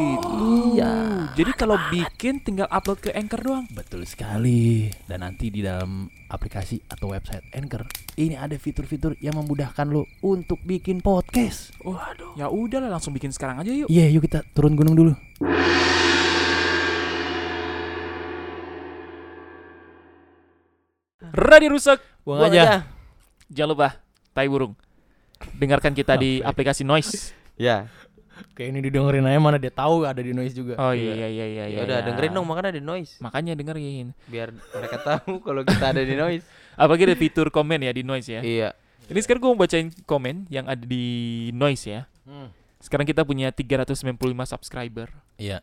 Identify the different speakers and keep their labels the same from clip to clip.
Speaker 1: gitu.
Speaker 2: Iya.
Speaker 1: Jadi kalau bikin tinggal upload ke Anchor doang.
Speaker 2: Betul sekali. Dan nanti di dalam aplikasi atau website Anchor, ini ada fitur-fitur yang memudahkan lo untuk bikin podcast.
Speaker 1: Waduh. Ya udahlah langsung bikin sekarang aja yuk.
Speaker 2: Iya, yuk kita turun gunung dulu.
Speaker 1: Radio rusak.
Speaker 2: Buang
Speaker 3: Buang
Speaker 2: aja.
Speaker 1: Jangan lupa tai burung. Dengarkan kita di aplikasi Noise.
Speaker 3: Ya,
Speaker 2: Kayak ini didengerin aja mana dia tahu ada di noise juga.
Speaker 1: Oh iya iya iya iya.
Speaker 3: ya udah
Speaker 1: iya.
Speaker 3: dengerin dong makanya ada noise.
Speaker 1: Makanya dengerin.
Speaker 3: Biar mereka tahu kalau kita ada di noise.
Speaker 1: Apalagi ada fitur komen ya di Noise ya.
Speaker 3: Iya.
Speaker 1: Ini sekarang gue mau bacain komen yang ada di Noise ya.
Speaker 2: Hmm.
Speaker 1: Sekarang kita punya 395 subscriber.
Speaker 2: Iya.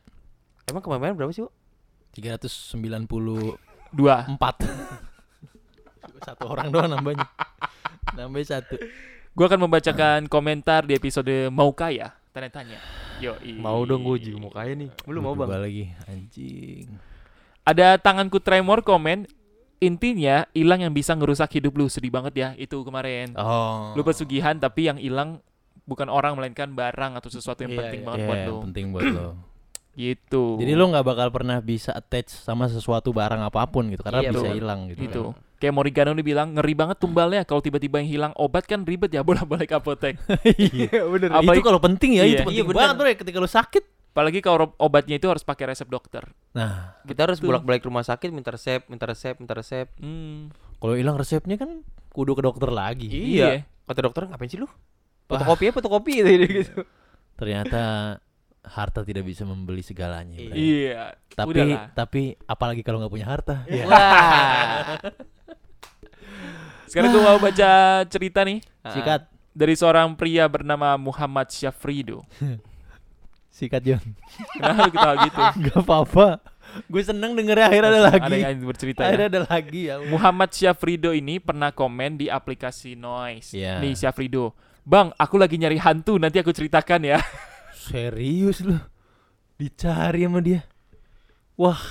Speaker 3: Emang kemarin berapa sih, Bu?
Speaker 2: 394
Speaker 1: Dua.
Speaker 2: satu orang doang nambahnya. Nambah satu.
Speaker 1: Gue akan membacakan komentar di episode Mau Kaya Tanya-tanya Yo,
Speaker 3: Mau dong gua juga mau kaya nih. Belum mau, Bang.
Speaker 2: Berubah lagi anjing.
Speaker 1: Ada tanganku tremor komen Intinya hilang yang bisa ngerusak hidup lu Sedih banget ya itu kemarin
Speaker 2: Oh.
Speaker 1: Lu pesugihan tapi yang hilang bukan orang melainkan barang atau sesuatu yang penting banget buat lu
Speaker 2: penting buat lo.
Speaker 1: gitu
Speaker 2: Iya, Jadi lo nggak bakal pernah bisa attach sama sesuatu barang apapun gitu karena
Speaker 3: Iya,
Speaker 2: bisa
Speaker 3: betul.
Speaker 2: hilang gitu.
Speaker 1: gitu
Speaker 2: kan.
Speaker 1: kayak Morigano nih bilang ngeri banget tumbalnya kalau tiba-tiba yang hilang obat kan ribet ya bolak-balik apotek
Speaker 3: Iya, bener.
Speaker 2: Nah,
Speaker 1: Apalagi-
Speaker 2: itu kalau penting ya,
Speaker 1: Iya.
Speaker 2: itu penting
Speaker 3: Iya, bener.
Speaker 2: banget bre ketika lo sakit.
Speaker 1: apalagi kalau obatnya itu harus pakai resep dokter
Speaker 2: Nah,
Speaker 3: Kita harus
Speaker 1: Betul.
Speaker 3: bolak-balik rumah sakit minta resep, minta resep, minta resep.
Speaker 1: Hmm,
Speaker 2: kalau hilang resepnya kan kudu ke dokter lagi.
Speaker 1: iya
Speaker 3: Kata dokter ngapain sih lu? Fotokopi ya, fotokopi gitu gitu.
Speaker 2: Ternyata harta tidak bisa membeli segalanya. Bre.
Speaker 1: iya
Speaker 2: Tapi
Speaker 1: udahlah.
Speaker 2: tapi apalagi kalau nggak punya harta. Iya.
Speaker 3: Wah.
Speaker 1: Sekarang gue mau baca cerita nih
Speaker 3: Ah.
Speaker 2: Sikat,
Speaker 1: dari seorang pria bernama Muhammad Syafrido.
Speaker 2: sikat John.
Speaker 1: Kenapa lu ketawa gitu?
Speaker 2: Gak apa-apa. Gue seneng dengernya akhirnya ada
Speaker 1: Ada
Speaker 2: lagi.
Speaker 1: yang bercerita
Speaker 2: Akhirnya
Speaker 1: ya.
Speaker 2: ada lagi ya.
Speaker 1: Muhammad Syafrido ini pernah komen di aplikasi Noise.
Speaker 2: Iya.
Speaker 1: Nih Syafrido. Bang, aku lagi nyari hantu, nanti aku ceritakan ya.
Speaker 2: Serius lu Dicari sama dia Wah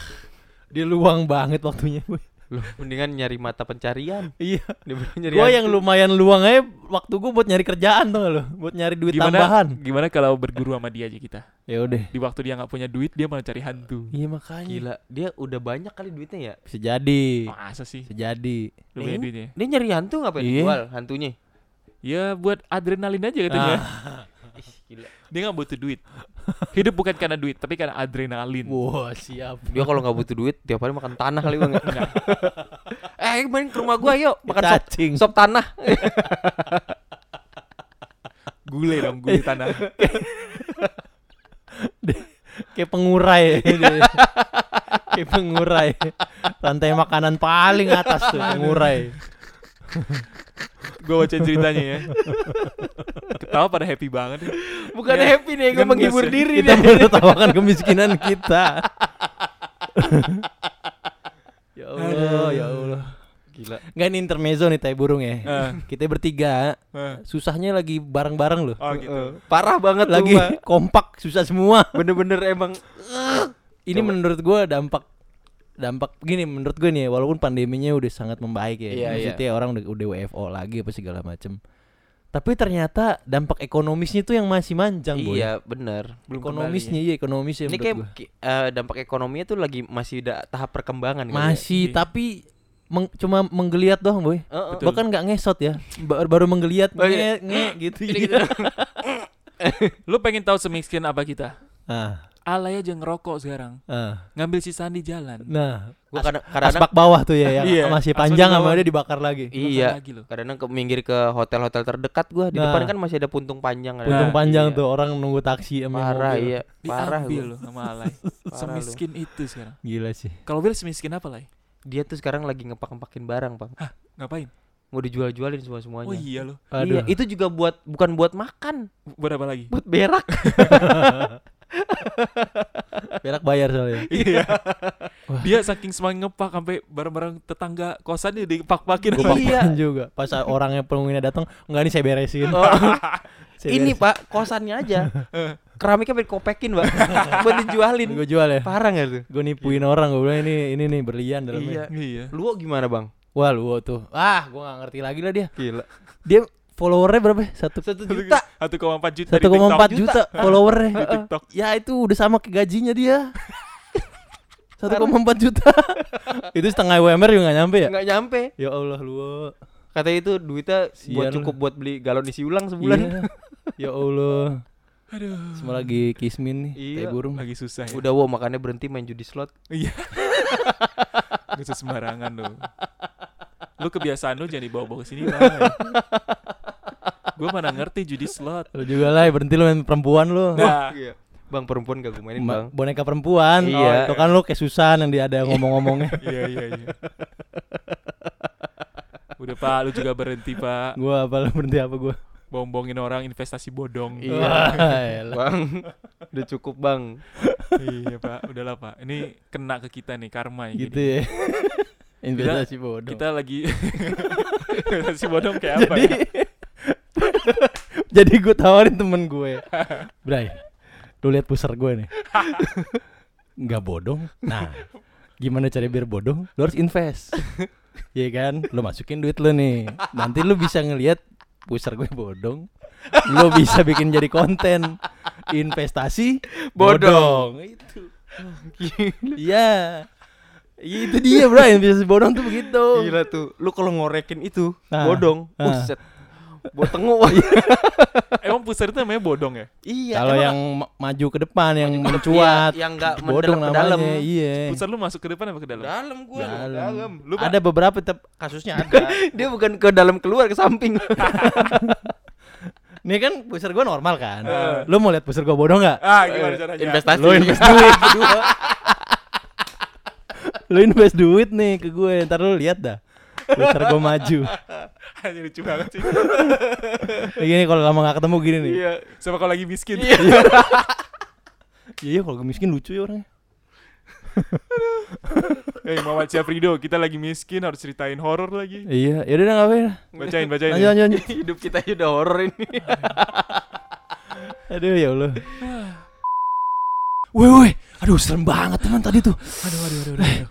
Speaker 2: Dia luang banget waktunya boy.
Speaker 3: Lu mendingan nyari mata pencarian
Speaker 2: Iya
Speaker 3: daripada nyari
Speaker 2: Gue
Speaker 3: hantu.
Speaker 2: yang lumayan luang aja Waktu gue buat nyari kerjaan tuh lo Buat nyari duit tambahan
Speaker 1: Gimana kalau berguru sama dia aja kita?
Speaker 2: Ya udah
Speaker 1: Di waktu dia nggak punya duit, dia malah cari hantu.
Speaker 2: Iya makanya
Speaker 3: Gila, dia udah banyak kali duitnya ya.
Speaker 2: Bisa jadi
Speaker 1: Masa sih?
Speaker 2: Bisa jadi
Speaker 1: Lu
Speaker 3: Eh?
Speaker 1: punya duitnya.
Speaker 3: Dia nyari hantu ngapain
Speaker 2: Iya.
Speaker 3: jual hantunya?
Speaker 1: Ya buat adrenalin aja katanya.
Speaker 2: Ah.
Speaker 3: Gila.
Speaker 1: Dia nggak butuh duit. Hidup bukan karena duit, tapi karena adrenalin.
Speaker 2: Wah siap
Speaker 3: Dia kalau nggak butuh duit tiap hari makan tanah kali bang. ya? eh main ke rumah gua yuk makan sop,
Speaker 2: Cacing
Speaker 3: sop tanah.
Speaker 1: Gule dong, gule tanah.
Speaker 2: Kayak pengurai dia. Kayak pengurai Rantai makanan paling atas tuh Pengurai
Speaker 1: gue bacain ceritanya ya ketawa pada happy banget
Speaker 3: Bukan
Speaker 1: Ya,
Speaker 3: happy nih, gua
Speaker 1: kan
Speaker 3: menghibur
Speaker 1: biasa.
Speaker 3: diri
Speaker 2: Iya. gitu. Kita
Speaker 3: nih.
Speaker 2: menertawakan kemiskinan kita Ya Allah Ya Allah
Speaker 3: Gila.
Speaker 2: Nggak ini intermezzo nih tai burung ya.
Speaker 1: Eh.
Speaker 2: Kita bertiga susahnya lagi bareng-bareng loh.
Speaker 1: oh Ah, gitu
Speaker 3: Parah banget tuh,
Speaker 2: lagi
Speaker 3: Bang.
Speaker 2: kompak susah semua.
Speaker 3: Bener-bener emang
Speaker 2: Ini
Speaker 3: Coba.
Speaker 2: menurut gua dampak dampak gini menurut gue nih ya, walaupun pandeminya udah sangat membaik ya.
Speaker 3: Iya, iya.
Speaker 2: Maksudnya orang udah, udah WFO lagi apa segala macem Tapi ternyata dampak ekonomisnya tuh yang masih manjang, Boy.
Speaker 3: Iya bener
Speaker 1: belum
Speaker 2: ekonomisnya iya ekonomisnya
Speaker 3: Ini
Speaker 2: menurut
Speaker 3: kayak
Speaker 2: gua.
Speaker 3: ki- eh, dampak ekonominya tuh lagi masih da- tahap perkembangan kali ya.
Speaker 2: masih
Speaker 1: Iya.
Speaker 2: tapi meng- cuma menggeliat doang, Boy.
Speaker 3: Eh, eh.
Speaker 1: Betul.
Speaker 2: Bahkan nggak ngesot ya. Ba- Baru menggeliat
Speaker 3: Oh,
Speaker 2: nge,
Speaker 3: iya.
Speaker 2: nge gitu.
Speaker 3: Ini
Speaker 2: gitu.
Speaker 3: gitu.
Speaker 1: kembali. lu pengen tahu semiskin apa kita
Speaker 2: Ah,
Speaker 1: alay aja ngerokok sekarang
Speaker 2: ah.
Speaker 1: ngambil sisaan di jalan
Speaker 2: Nah,
Speaker 3: Gua
Speaker 2: as-
Speaker 3: kadang- kadang-
Speaker 2: asbak bawah tuh ya yang
Speaker 1: Iya,
Speaker 2: masih
Speaker 1: asbak
Speaker 2: panjang
Speaker 1: di
Speaker 2: sama
Speaker 1: bawah.
Speaker 2: dia dibakar lagi.
Speaker 1: Makan
Speaker 3: Iya.
Speaker 1: lagi lo
Speaker 3: Kadang ke minggir ke hotel-hotel terdekat gua di
Speaker 2: Nah.
Speaker 3: depan kan masih ada puntung panjang ada.
Speaker 2: Untung
Speaker 1: Nah,
Speaker 2: panjang
Speaker 1: iya.
Speaker 2: tuh orang nunggu taksi sama yang
Speaker 3: Parah
Speaker 2: mobil.
Speaker 3: iya, parah
Speaker 1: diambil
Speaker 3: gua.
Speaker 1: lo sama alay
Speaker 3: Parah lu.
Speaker 1: semiskin itu sekarang
Speaker 2: Gila sih.
Speaker 1: kalau Will semiskin apa lay
Speaker 3: Dia tuh sekarang lagi ngepak-ngepakin barang, Bang.
Speaker 1: ngapain
Speaker 3: mau dijual-jualin semua semuanya.
Speaker 1: Oh iya loh.
Speaker 3: Iya, itu juga buat bukan buat makan,
Speaker 1: Buat apa lagi?
Speaker 3: buat berak.
Speaker 2: Perak bayar soalnya.
Speaker 1: Iya. Dia saking semangat ngepak sampai barang-barang tetangga kosannya dipak-pakin.
Speaker 2: Gue
Speaker 3: Iya.
Speaker 2: juga. Pas orangnya penunggunya datang, enggak nih saya beresin. Saya
Speaker 3: Ini Pak, kosannya aja. Keramiknya pengen kopekin, Pak. buat dijualin.
Speaker 2: gue jual ya.
Speaker 3: Parah nggak tuh?
Speaker 2: Gue nipuin orang, gue bilang ini ini nih berlian dalamnya.
Speaker 3: Iya.
Speaker 1: Iya.
Speaker 3: Lu gimana, Bang?
Speaker 2: Wah, lu tuh. Ah, gue gak ngerti lagi lah dia.
Speaker 3: Gila.
Speaker 2: Dia followernya berapa? ya? Satu
Speaker 3: Satu juta.
Speaker 1: 1,4 juta
Speaker 2: satu
Speaker 1: di
Speaker 2: koma
Speaker 1: TikTok.
Speaker 2: empat juta followernya.
Speaker 1: Di TikTok.
Speaker 2: Ya itu udah sama ke gajinya dia. 1,4 juta. itu setengah UMR juga gak nyampe ya?
Speaker 3: Nggak nyampe.
Speaker 2: Ya Allah lu.
Speaker 3: Katanya itu duitnya buat
Speaker 2: Sian lu.
Speaker 3: cukup buat beli galon isi ulang sebulan.
Speaker 2: Iya. Ya Allah.
Speaker 1: Aduh.
Speaker 2: Semua lagi kismin nih,
Speaker 3: Iya,
Speaker 2: tai burung.
Speaker 1: Lagi susah ya.
Speaker 3: Udah wow, makanya berhenti main judi slot.
Speaker 1: Iya. Gak usah sembarangan lo. Lu kebiasaan lu jangan dibawa-bawa ke sini lah. Gue mana ngerti judi slot.
Speaker 2: Lu juga lah, berhenti lu main perempuan lu.
Speaker 1: Nah,
Speaker 3: Iya. Bang perempuan gak gue mainin,
Speaker 2: Ma-
Speaker 3: Bang.
Speaker 2: boneka perempuan.
Speaker 3: Iya.
Speaker 2: Itu kan lu kayak Susan yang dia ada ngomong-ngomongnya.
Speaker 1: iya iya iya. Udah Pak, lu juga berhenti Pak.
Speaker 2: gua apa lu berhenti apa gua?
Speaker 1: Bombongin orang investasi bodong.
Speaker 3: Iya.
Speaker 2: Wah, elah.
Speaker 3: Bang, udah cukup, Bang.
Speaker 1: iya Pak, udahlah Pak. Ini kena ke kita nih karma ya.
Speaker 2: gitu ya. Investasi bodoh.
Speaker 1: Kita lagi investasi bodong kayak apa
Speaker 2: jadi
Speaker 1: ya?
Speaker 2: jadi gue tawarin temen gue Bray lu lihat pusar gue nih nggak bodong nah gimana cara biar bodong lu harus invest Iya kan lu masukin duit lu nih nanti lu bisa ngelihat pusar gue bodong lu bisa bikin jadi konten investasi bodong itu iya itu dia bro investasi bodong tuh begitu
Speaker 3: Gila tuh, lu kalau ngorekin itu
Speaker 2: Ah,
Speaker 3: bodong,
Speaker 2: ah.
Speaker 3: buset. Buat tengok.
Speaker 1: Emang pusar itu namanya bodong ya?
Speaker 3: iya.
Speaker 2: Kalau
Speaker 3: emang
Speaker 2: yang ma- maju ke depan yang mencuat,
Speaker 3: iya, yang nggak
Speaker 2: bodong
Speaker 3: mendalam ke dalam.
Speaker 2: namanya, Iya.
Speaker 1: Pusar lu masuk ke depan apa ke dalam?
Speaker 3: dalam gua,
Speaker 2: Dalam.
Speaker 3: dalam. Lu
Speaker 2: ada beberapa tetap kasusnya ada.
Speaker 3: dia bukan ke dalam keluar ke samping.
Speaker 2: Nih kan pusar gua normal kan.
Speaker 3: Eh.
Speaker 2: Lu mau lihat pusar gua bodong nggak?
Speaker 1: Ah, gimana caranya?
Speaker 3: Investasi.
Speaker 2: Lu invest duit berdua. lu invest duit nih ke gue, ntar lu lihat dah. Pusar gua maju.
Speaker 1: Anjir lucu banget sih.
Speaker 2: Kayak Gini kalau lama nggak ketemu gini nih.
Speaker 1: Iya, sama kalau lagi miskin.
Speaker 2: Iya, iya kalau gue miskin lucu ya orangnya.
Speaker 1: Eh, Muhammad Syafrido, kita lagi miskin harus ceritain horor lagi.
Speaker 2: Iya, ya udah ngapain?
Speaker 1: Bacain,
Speaker 3: Iya,
Speaker 1: bacain.
Speaker 2: Lanjut
Speaker 1: ya.
Speaker 2: lanjut. lanjut.
Speaker 3: Hidup kita aja udah horor ini.
Speaker 2: Aduh ya Allah. Woi woi, aduh serem banget teman tadi tuh.
Speaker 1: Aduh, aduh, aduh, aduh. aduh.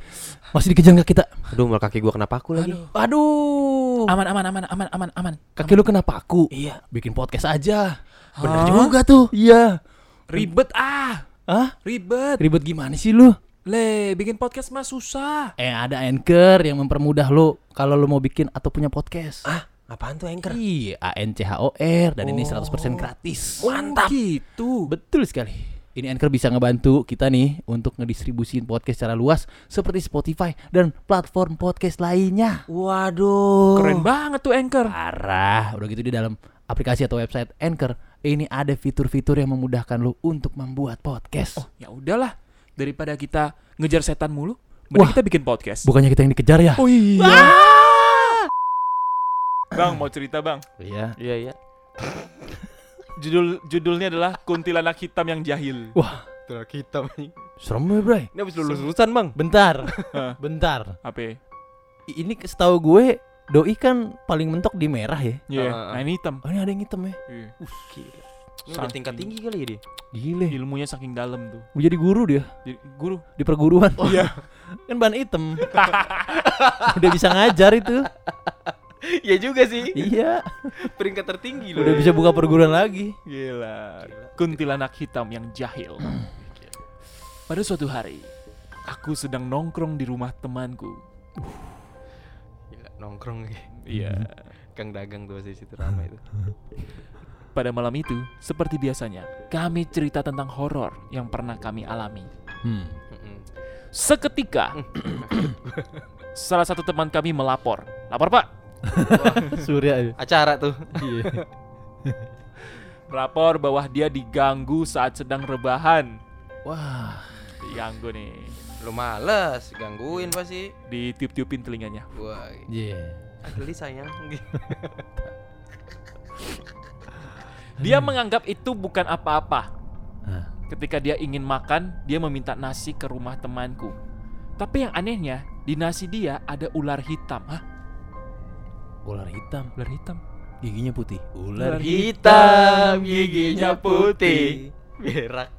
Speaker 2: Masih dikejar nggak kita?
Speaker 3: Aduh, malah kaki gua kenapa aku lagi?
Speaker 2: Aduh.
Speaker 1: Aman, aman, aman, aman, aman, aman.
Speaker 2: Kaki lu kenapa aku? Iya. Bikin podcast aja. Bener juga tuh. Iya.
Speaker 1: Ribet ah,
Speaker 2: Hah?
Speaker 1: ribet.
Speaker 2: Ribet gimana sih lu?
Speaker 1: Le, bikin podcast mah susah.
Speaker 2: Eh ada anchor yang mempermudah lu kalau lu mau bikin atau punya podcast.
Speaker 3: Ah, apaan tuh anchor? Oh.
Speaker 2: Iya, A N C H O R dan ini 100% gratis.
Speaker 1: Mantap. gitu.
Speaker 2: Betul sekali. Ini Anchor bisa ngebantu kita nih untuk ngedistribusin podcast secara luas seperti Spotify dan platform podcast lainnya.
Speaker 3: Waduh.
Speaker 1: Keren banget tuh Anchor.
Speaker 2: Parah, udah gitu di dalam aplikasi atau website Anchor ini ada fitur-fitur yang memudahkan lu untuk membuat podcast.
Speaker 1: Oh, ya udahlah. Daripada kita ngejar setan mulu, mending
Speaker 2: Wah.
Speaker 1: kita bikin podcast.
Speaker 2: Bukannya kita yang dikejar ya?
Speaker 1: Oh iya.
Speaker 3: Ah!
Speaker 1: Bang, mau cerita, Bang.
Speaker 2: Iya.
Speaker 3: Iya, iya.
Speaker 1: Judul judulnya adalah Kuntilanak Hitam yang Jahil.
Speaker 2: Wah,
Speaker 3: Tuh kita ini.
Speaker 2: serem ya, Bray.
Speaker 3: Ini habis lulus lulusan, Bang.
Speaker 2: Bentar,
Speaker 1: Hah,
Speaker 2: bentar.
Speaker 1: Apa? ya?
Speaker 2: I- Ini setahu gue doi kan paling mentok di merah ya.
Speaker 1: Iya,
Speaker 3: Ah, ah, ah.
Speaker 1: nah ini hitam.
Speaker 2: Oh, ini ada yang hitam ya.
Speaker 1: Iya.
Speaker 3: Gila. Ini udah
Speaker 1: Saking-
Speaker 3: tingkat tinggi kali ya dia.
Speaker 2: Gile.
Speaker 1: Ilmunya saking dalam tuh.
Speaker 2: Mau jadi guru dia
Speaker 1: Jadi guru.
Speaker 2: di perguruan.
Speaker 1: iya.
Speaker 2: kan ban hitam. Udah bisa ngajar itu.
Speaker 3: Iya juga sih.
Speaker 2: Iya.
Speaker 3: Peringkat tertinggi loh.
Speaker 2: Udah bisa buka perguruan lagi.
Speaker 1: Gila. Kuntilanak hitam yang jahil. Pada suatu hari, aku sedang nongkrong di rumah temanku.
Speaker 3: Gila, nongkrong lagi.
Speaker 1: Iya.
Speaker 3: Kang dagang tuh pasti situ ramai itu.
Speaker 1: Pada malam itu, seperti biasanya, kami cerita tentang horor yang pernah kami alami.
Speaker 2: Hmm.
Speaker 1: Seketika, salah satu teman kami melapor. Lapor pak?
Speaker 2: Surya. ya.
Speaker 3: Acara tuh.
Speaker 2: Iya.
Speaker 1: Melapor bahwa dia diganggu saat sedang rebahan.
Speaker 2: Wah.
Speaker 1: Diganggu nih.
Speaker 3: Lu males gangguin pasti.
Speaker 1: Ditiup-tiupin telinganya.
Speaker 3: Wah.
Speaker 2: Iya.
Speaker 3: Geli sayang.
Speaker 1: Dia menganggap itu bukan apa-apa.
Speaker 2: Hmm. Hah.
Speaker 1: Ketika dia ingin makan, dia meminta nasi ke rumah temanku. Tapi yang anehnya, di nasi dia ada ular hitam. Hah?
Speaker 2: Ular hitam,
Speaker 1: Ular hitam?
Speaker 2: giginya putih.
Speaker 1: Ular
Speaker 3: Hitam giginya putih. Berak.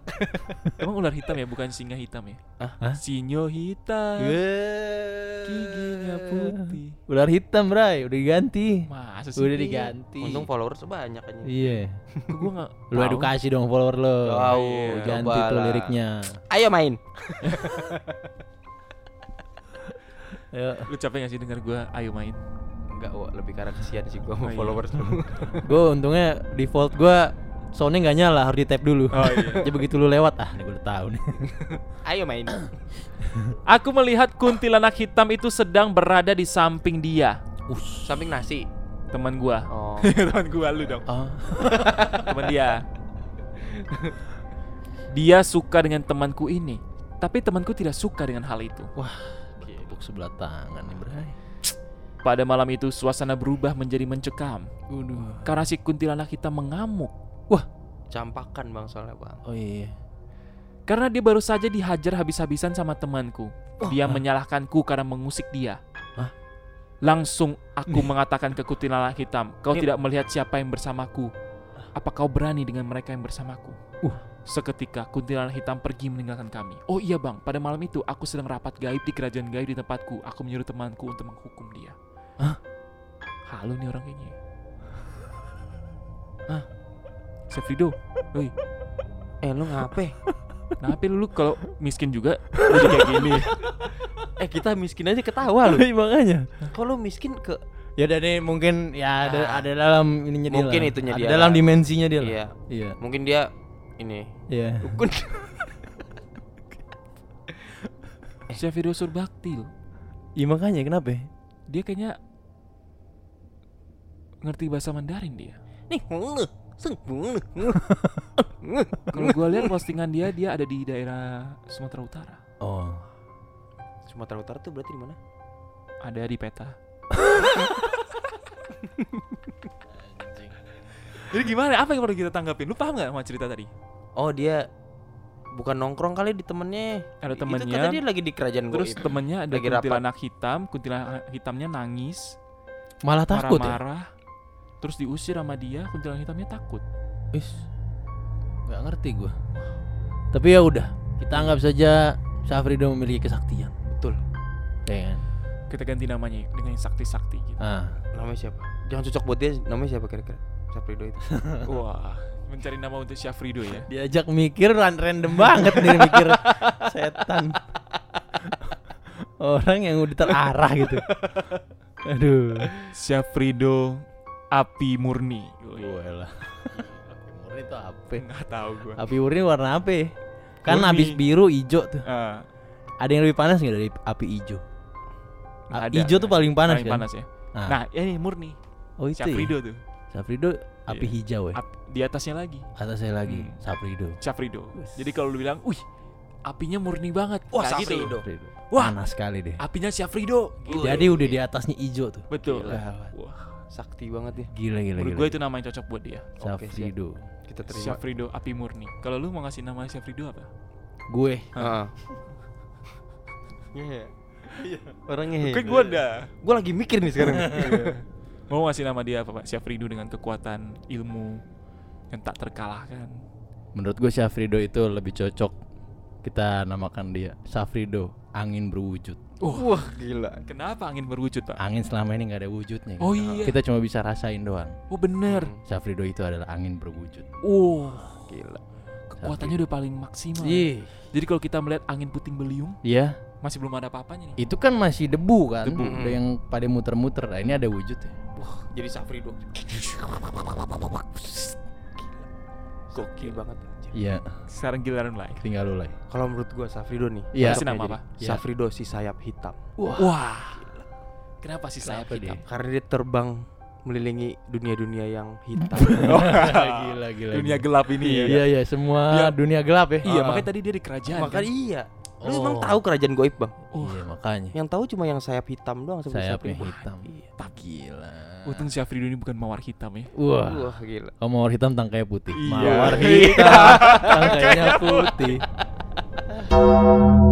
Speaker 1: Emang ular hitam ya, bukan singa hitam ya?
Speaker 2: Hah? Iya.
Speaker 1: Sinyo hitam, Eh. giginya putih.
Speaker 2: Ular hitam, Bray. Udah diganti.
Speaker 1: Masa sih?
Speaker 2: Udah diganti.
Speaker 3: Untung followers banyak aja.
Speaker 2: Iya.
Speaker 1: Kok gua nggak
Speaker 2: Lu
Speaker 1: tahu?
Speaker 2: edukasi dong follower lo.
Speaker 3: Wow,
Speaker 1: Iya,
Speaker 2: Ganti
Speaker 3: coba
Speaker 2: tuh
Speaker 3: lah.
Speaker 2: liriknya.
Speaker 3: Ayo main.
Speaker 2: Ayo.
Speaker 1: Lu capek gak sih denger gua ayo main?
Speaker 3: Enggak, wah lebih karena kesian sih gua sama
Speaker 1: Oh, iya.
Speaker 3: followers lu.
Speaker 2: Gue untungnya default gue soundnya nggak nyala harus di tap dulu.
Speaker 1: Oh, iya.
Speaker 2: Jadi begitu lu lewat ah, ini gue udah tahu nih.
Speaker 3: Ayo main.
Speaker 1: Aku melihat kuntilanak hitam itu sedang berada di samping dia.
Speaker 2: Us.
Speaker 3: Samping nasi.
Speaker 1: Teman gua.
Speaker 3: Oh.
Speaker 1: Teman gua lu dong.
Speaker 2: Ah.
Speaker 1: teman dia. Dia suka dengan temanku ini, tapi temanku tidak suka dengan hal itu.
Speaker 2: Tepuk sebelah tangan nih, Bray.
Speaker 1: Pada malam itu suasana berubah menjadi mencekam karena si kuntilanak hitam mengamuk
Speaker 3: Campakan bang soalnya bang.
Speaker 2: Oh iya.
Speaker 1: karena dia baru saja dihajar habis-habisan sama temanku. Dia menyalahkanku karena mengusik dia.
Speaker 2: Oh, nah. Hah?
Speaker 1: Langsung aku mengatakan ke kuntilanak hitam, "Kau
Speaker 2: Nih.
Speaker 1: tidak melihat siapa yang bersamaku. Apa kau berani dengan mereka yang bersamaku?"
Speaker 2: Uh.
Speaker 1: Seketika kuntilanak hitam pergi meninggalkan kami. Oh iya bang, pada malam itu aku sedang rapat gaib di kerajaan gaib di tempatku. Aku menyuruh temanku untuk menghukum dia.
Speaker 2: Hah?
Speaker 1: Halu nih orang kayaknya. Hah? Sefrido, woi,
Speaker 3: Eh lu ngapain?
Speaker 1: kenapa Nah, lu kalau miskin juga jadi kayak gini?
Speaker 3: eh kita miskin aja ketawa lu.
Speaker 2: Iya, makanya.
Speaker 3: Kok lu miskin ke?
Speaker 2: Ya udah nih mungkin ya ada
Speaker 3: Ah.
Speaker 2: ada dalam ininya dia.
Speaker 3: Mungkin
Speaker 2: lah.
Speaker 3: itunya
Speaker 2: ada
Speaker 3: dia
Speaker 2: dalam
Speaker 3: lah.
Speaker 2: dimensinya dia. lah.
Speaker 3: Iya.
Speaker 2: Iya.
Speaker 3: Mungkin dia ini
Speaker 2: Iya.
Speaker 3: dukun.
Speaker 1: Sefrido Surbakti loh.
Speaker 2: Iya makanya kenapa? ya?
Speaker 1: Dia kayaknya ngerti bahasa Mandarin dia.
Speaker 3: Nih, seng.
Speaker 1: Kalau gua lihat postingan dia, dia ada di daerah Sumatera Utara.
Speaker 2: Oh.
Speaker 3: Sumatera Utara tuh berarti di mana?
Speaker 1: Ada di peta. Jadi gimana? Apa yang perlu kita tanggapin? Lu paham gak sama cerita tadi?
Speaker 3: Oh, dia bukan nongkrong kali di temennya.
Speaker 1: Ada
Speaker 3: Itu kata dia
Speaker 1: temennya,
Speaker 3: lagi di kerajaan
Speaker 1: terus
Speaker 3: gaib.
Speaker 1: temennya ada
Speaker 3: Lagi rapat.
Speaker 1: kuntilanak hitam, kuntilanak hitamnya nangis,
Speaker 2: Malah takut ya?
Speaker 1: marah-marah, terus diusir sama dia, kuntilanak hitamnya takut.
Speaker 2: Is. Gak ngerti gua. Tapi ya udah, kita anggap saja Safrido memiliki kesaktian.
Speaker 3: Betul.
Speaker 2: Ya kan?
Speaker 1: Kita ganti namanya dengan yang sakti-sakti gitu.
Speaker 2: Ah.
Speaker 3: Namanya siapa? Jangan cocok buat dia. Namanya siapa kira-kira? Saprido itu.
Speaker 1: Wah, mencari nama untuk Syafrido ya.
Speaker 2: Diajak mikir ran- random banget nih mikir setan. Orang yang udah terarah gitu. Aduh.
Speaker 1: Syafrido Api Murni.
Speaker 2: Gue lah. Api murni itu apa?
Speaker 1: Enggak tahu gua.
Speaker 2: Api murni warna apa? ya? Kan
Speaker 1: Murni.
Speaker 2: habis biru hijau tuh.
Speaker 1: Eh,
Speaker 2: Ada yang lebih panas nggak dari api hijau?
Speaker 1: nggak ada,
Speaker 2: Ah, Hijau tuh
Speaker 1: nggak ada.
Speaker 2: paling panas
Speaker 1: paling
Speaker 2: kan?
Speaker 1: panas ya.
Speaker 2: Ah.
Speaker 1: Nah, ini Murni.
Speaker 2: oh itu ya.
Speaker 1: Syafrido tuh.
Speaker 2: Safrido api
Speaker 1: Iya.
Speaker 2: hijau ya.
Speaker 1: Ap- di atasnya lagi.
Speaker 2: Atasnya lagi
Speaker 1: Hmm.
Speaker 2: Safrido.
Speaker 1: Syafrido.
Speaker 2: Wes.
Speaker 1: Jadi kalau lu bilang, "Wih, apinya murni banget."
Speaker 3: Wah,
Speaker 1: Nah, gitu.
Speaker 3: Syafrido.
Speaker 2: Safrido.
Speaker 1: Wah.
Speaker 2: Panas sekali deh.
Speaker 1: Apinya Syafrido. Gitu.
Speaker 2: Jadi udah di atasnya hijau tuh.
Speaker 1: Betul.
Speaker 2: Gawat.
Speaker 1: Wah,
Speaker 3: Sakti banget ya.
Speaker 2: Gila gila
Speaker 1: menurut
Speaker 2: gila.
Speaker 1: gue itu nama yang cocok buat dia.
Speaker 3: Oke, siap.
Speaker 2: Safrido.
Speaker 3: Kita terima.
Speaker 1: Syafrido Api Murni. Kalau lu mau ngasih nama Syafrido apa?
Speaker 2: Gue.
Speaker 3: Heeh. Ah. Iya. Orangnya
Speaker 2: Iya,
Speaker 1: Mungkin Kan gua ada.
Speaker 3: Gue lagi mikir nih sekarang.
Speaker 1: Mau ngasih nama dia apa, Pak? Syafrido dengan kekuatan ilmu yang tak terkalahkan.
Speaker 2: Menurut gue Safrido itu lebih cocok kita namakan dia Safrido angin berwujud.
Speaker 3: Wah, gila.
Speaker 1: Kenapa angin berwujud, Pak?
Speaker 2: Angin selama ini nggak ada wujudnya.
Speaker 1: Oh
Speaker 2: gitu.
Speaker 1: iya.
Speaker 2: Kita cuma bisa rasain doang.
Speaker 1: Oh bener.
Speaker 2: Safrido itu adalah angin berwujud.
Speaker 1: Wow,
Speaker 3: Gila.
Speaker 1: kekuatannya udah paling maksimal.
Speaker 2: Ih,
Speaker 1: Jadi kalau kita melihat angin puting beliung,
Speaker 2: ya
Speaker 1: masih belum ada apa-apanya nih.
Speaker 2: itu kan masih debu kan,
Speaker 3: Debu.
Speaker 2: Ada yang pada muter-muter. Nah, ini ada wujud ya.
Speaker 3: Jadi Safrido. Gokil banget.
Speaker 2: Iya,
Speaker 1: Sekarang giliran lain.
Speaker 2: tinggal lu lah.
Speaker 3: Kalau menurut gua Safrido nih.
Speaker 2: Iya.
Speaker 3: cocok
Speaker 1: Kasih nama
Speaker 3: jadi
Speaker 1: apa?
Speaker 2: Iya.
Speaker 3: Safrido si sayap hitam.
Speaker 1: Wah. Kenapa sih sayap
Speaker 2: Kenapa
Speaker 1: hitam?
Speaker 2: dia?
Speaker 3: Karena dia terbang melilingi dunia-dunia yang hitam.
Speaker 2: Iya, gila gila.
Speaker 1: Oh. Dunia gelap ini
Speaker 2: Iya
Speaker 1: ya.
Speaker 2: iya, semua
Speaker 1: Iya.
Speaker 2: dunia gelap ya.
Speaker 1: Iya,
Speaker 2: Ah.
Speaker 1: makanya tadi dia di kerajaan.
Speaker 3: Makanya
Speaker 1: kan?
Speaker 3: iya. Lu emang
Speaker 2: Oh.
Speaker 3: tahu kerajaan goib bang?
Speaker 2: Iya makanya.
Speaker 3: Yang tahu cuma yang sayap hitam doang sama
Speaker 2: Sayap
Speaker 3: Sapri.
Speaker 2: hitam.
Speaker 3: Iya.
Speaker 2: Gila.
Speaker 1: Untung si Afridu ini bukan mawar hitam ya.
Speaker 2: Wah.
Speaker 3: Wah gila.
Speaker 2: Kalau mawar hitam tangkainya putih.
Speaker 1: Iya.
Speaker 2: Mawar hitam tangkainya putih.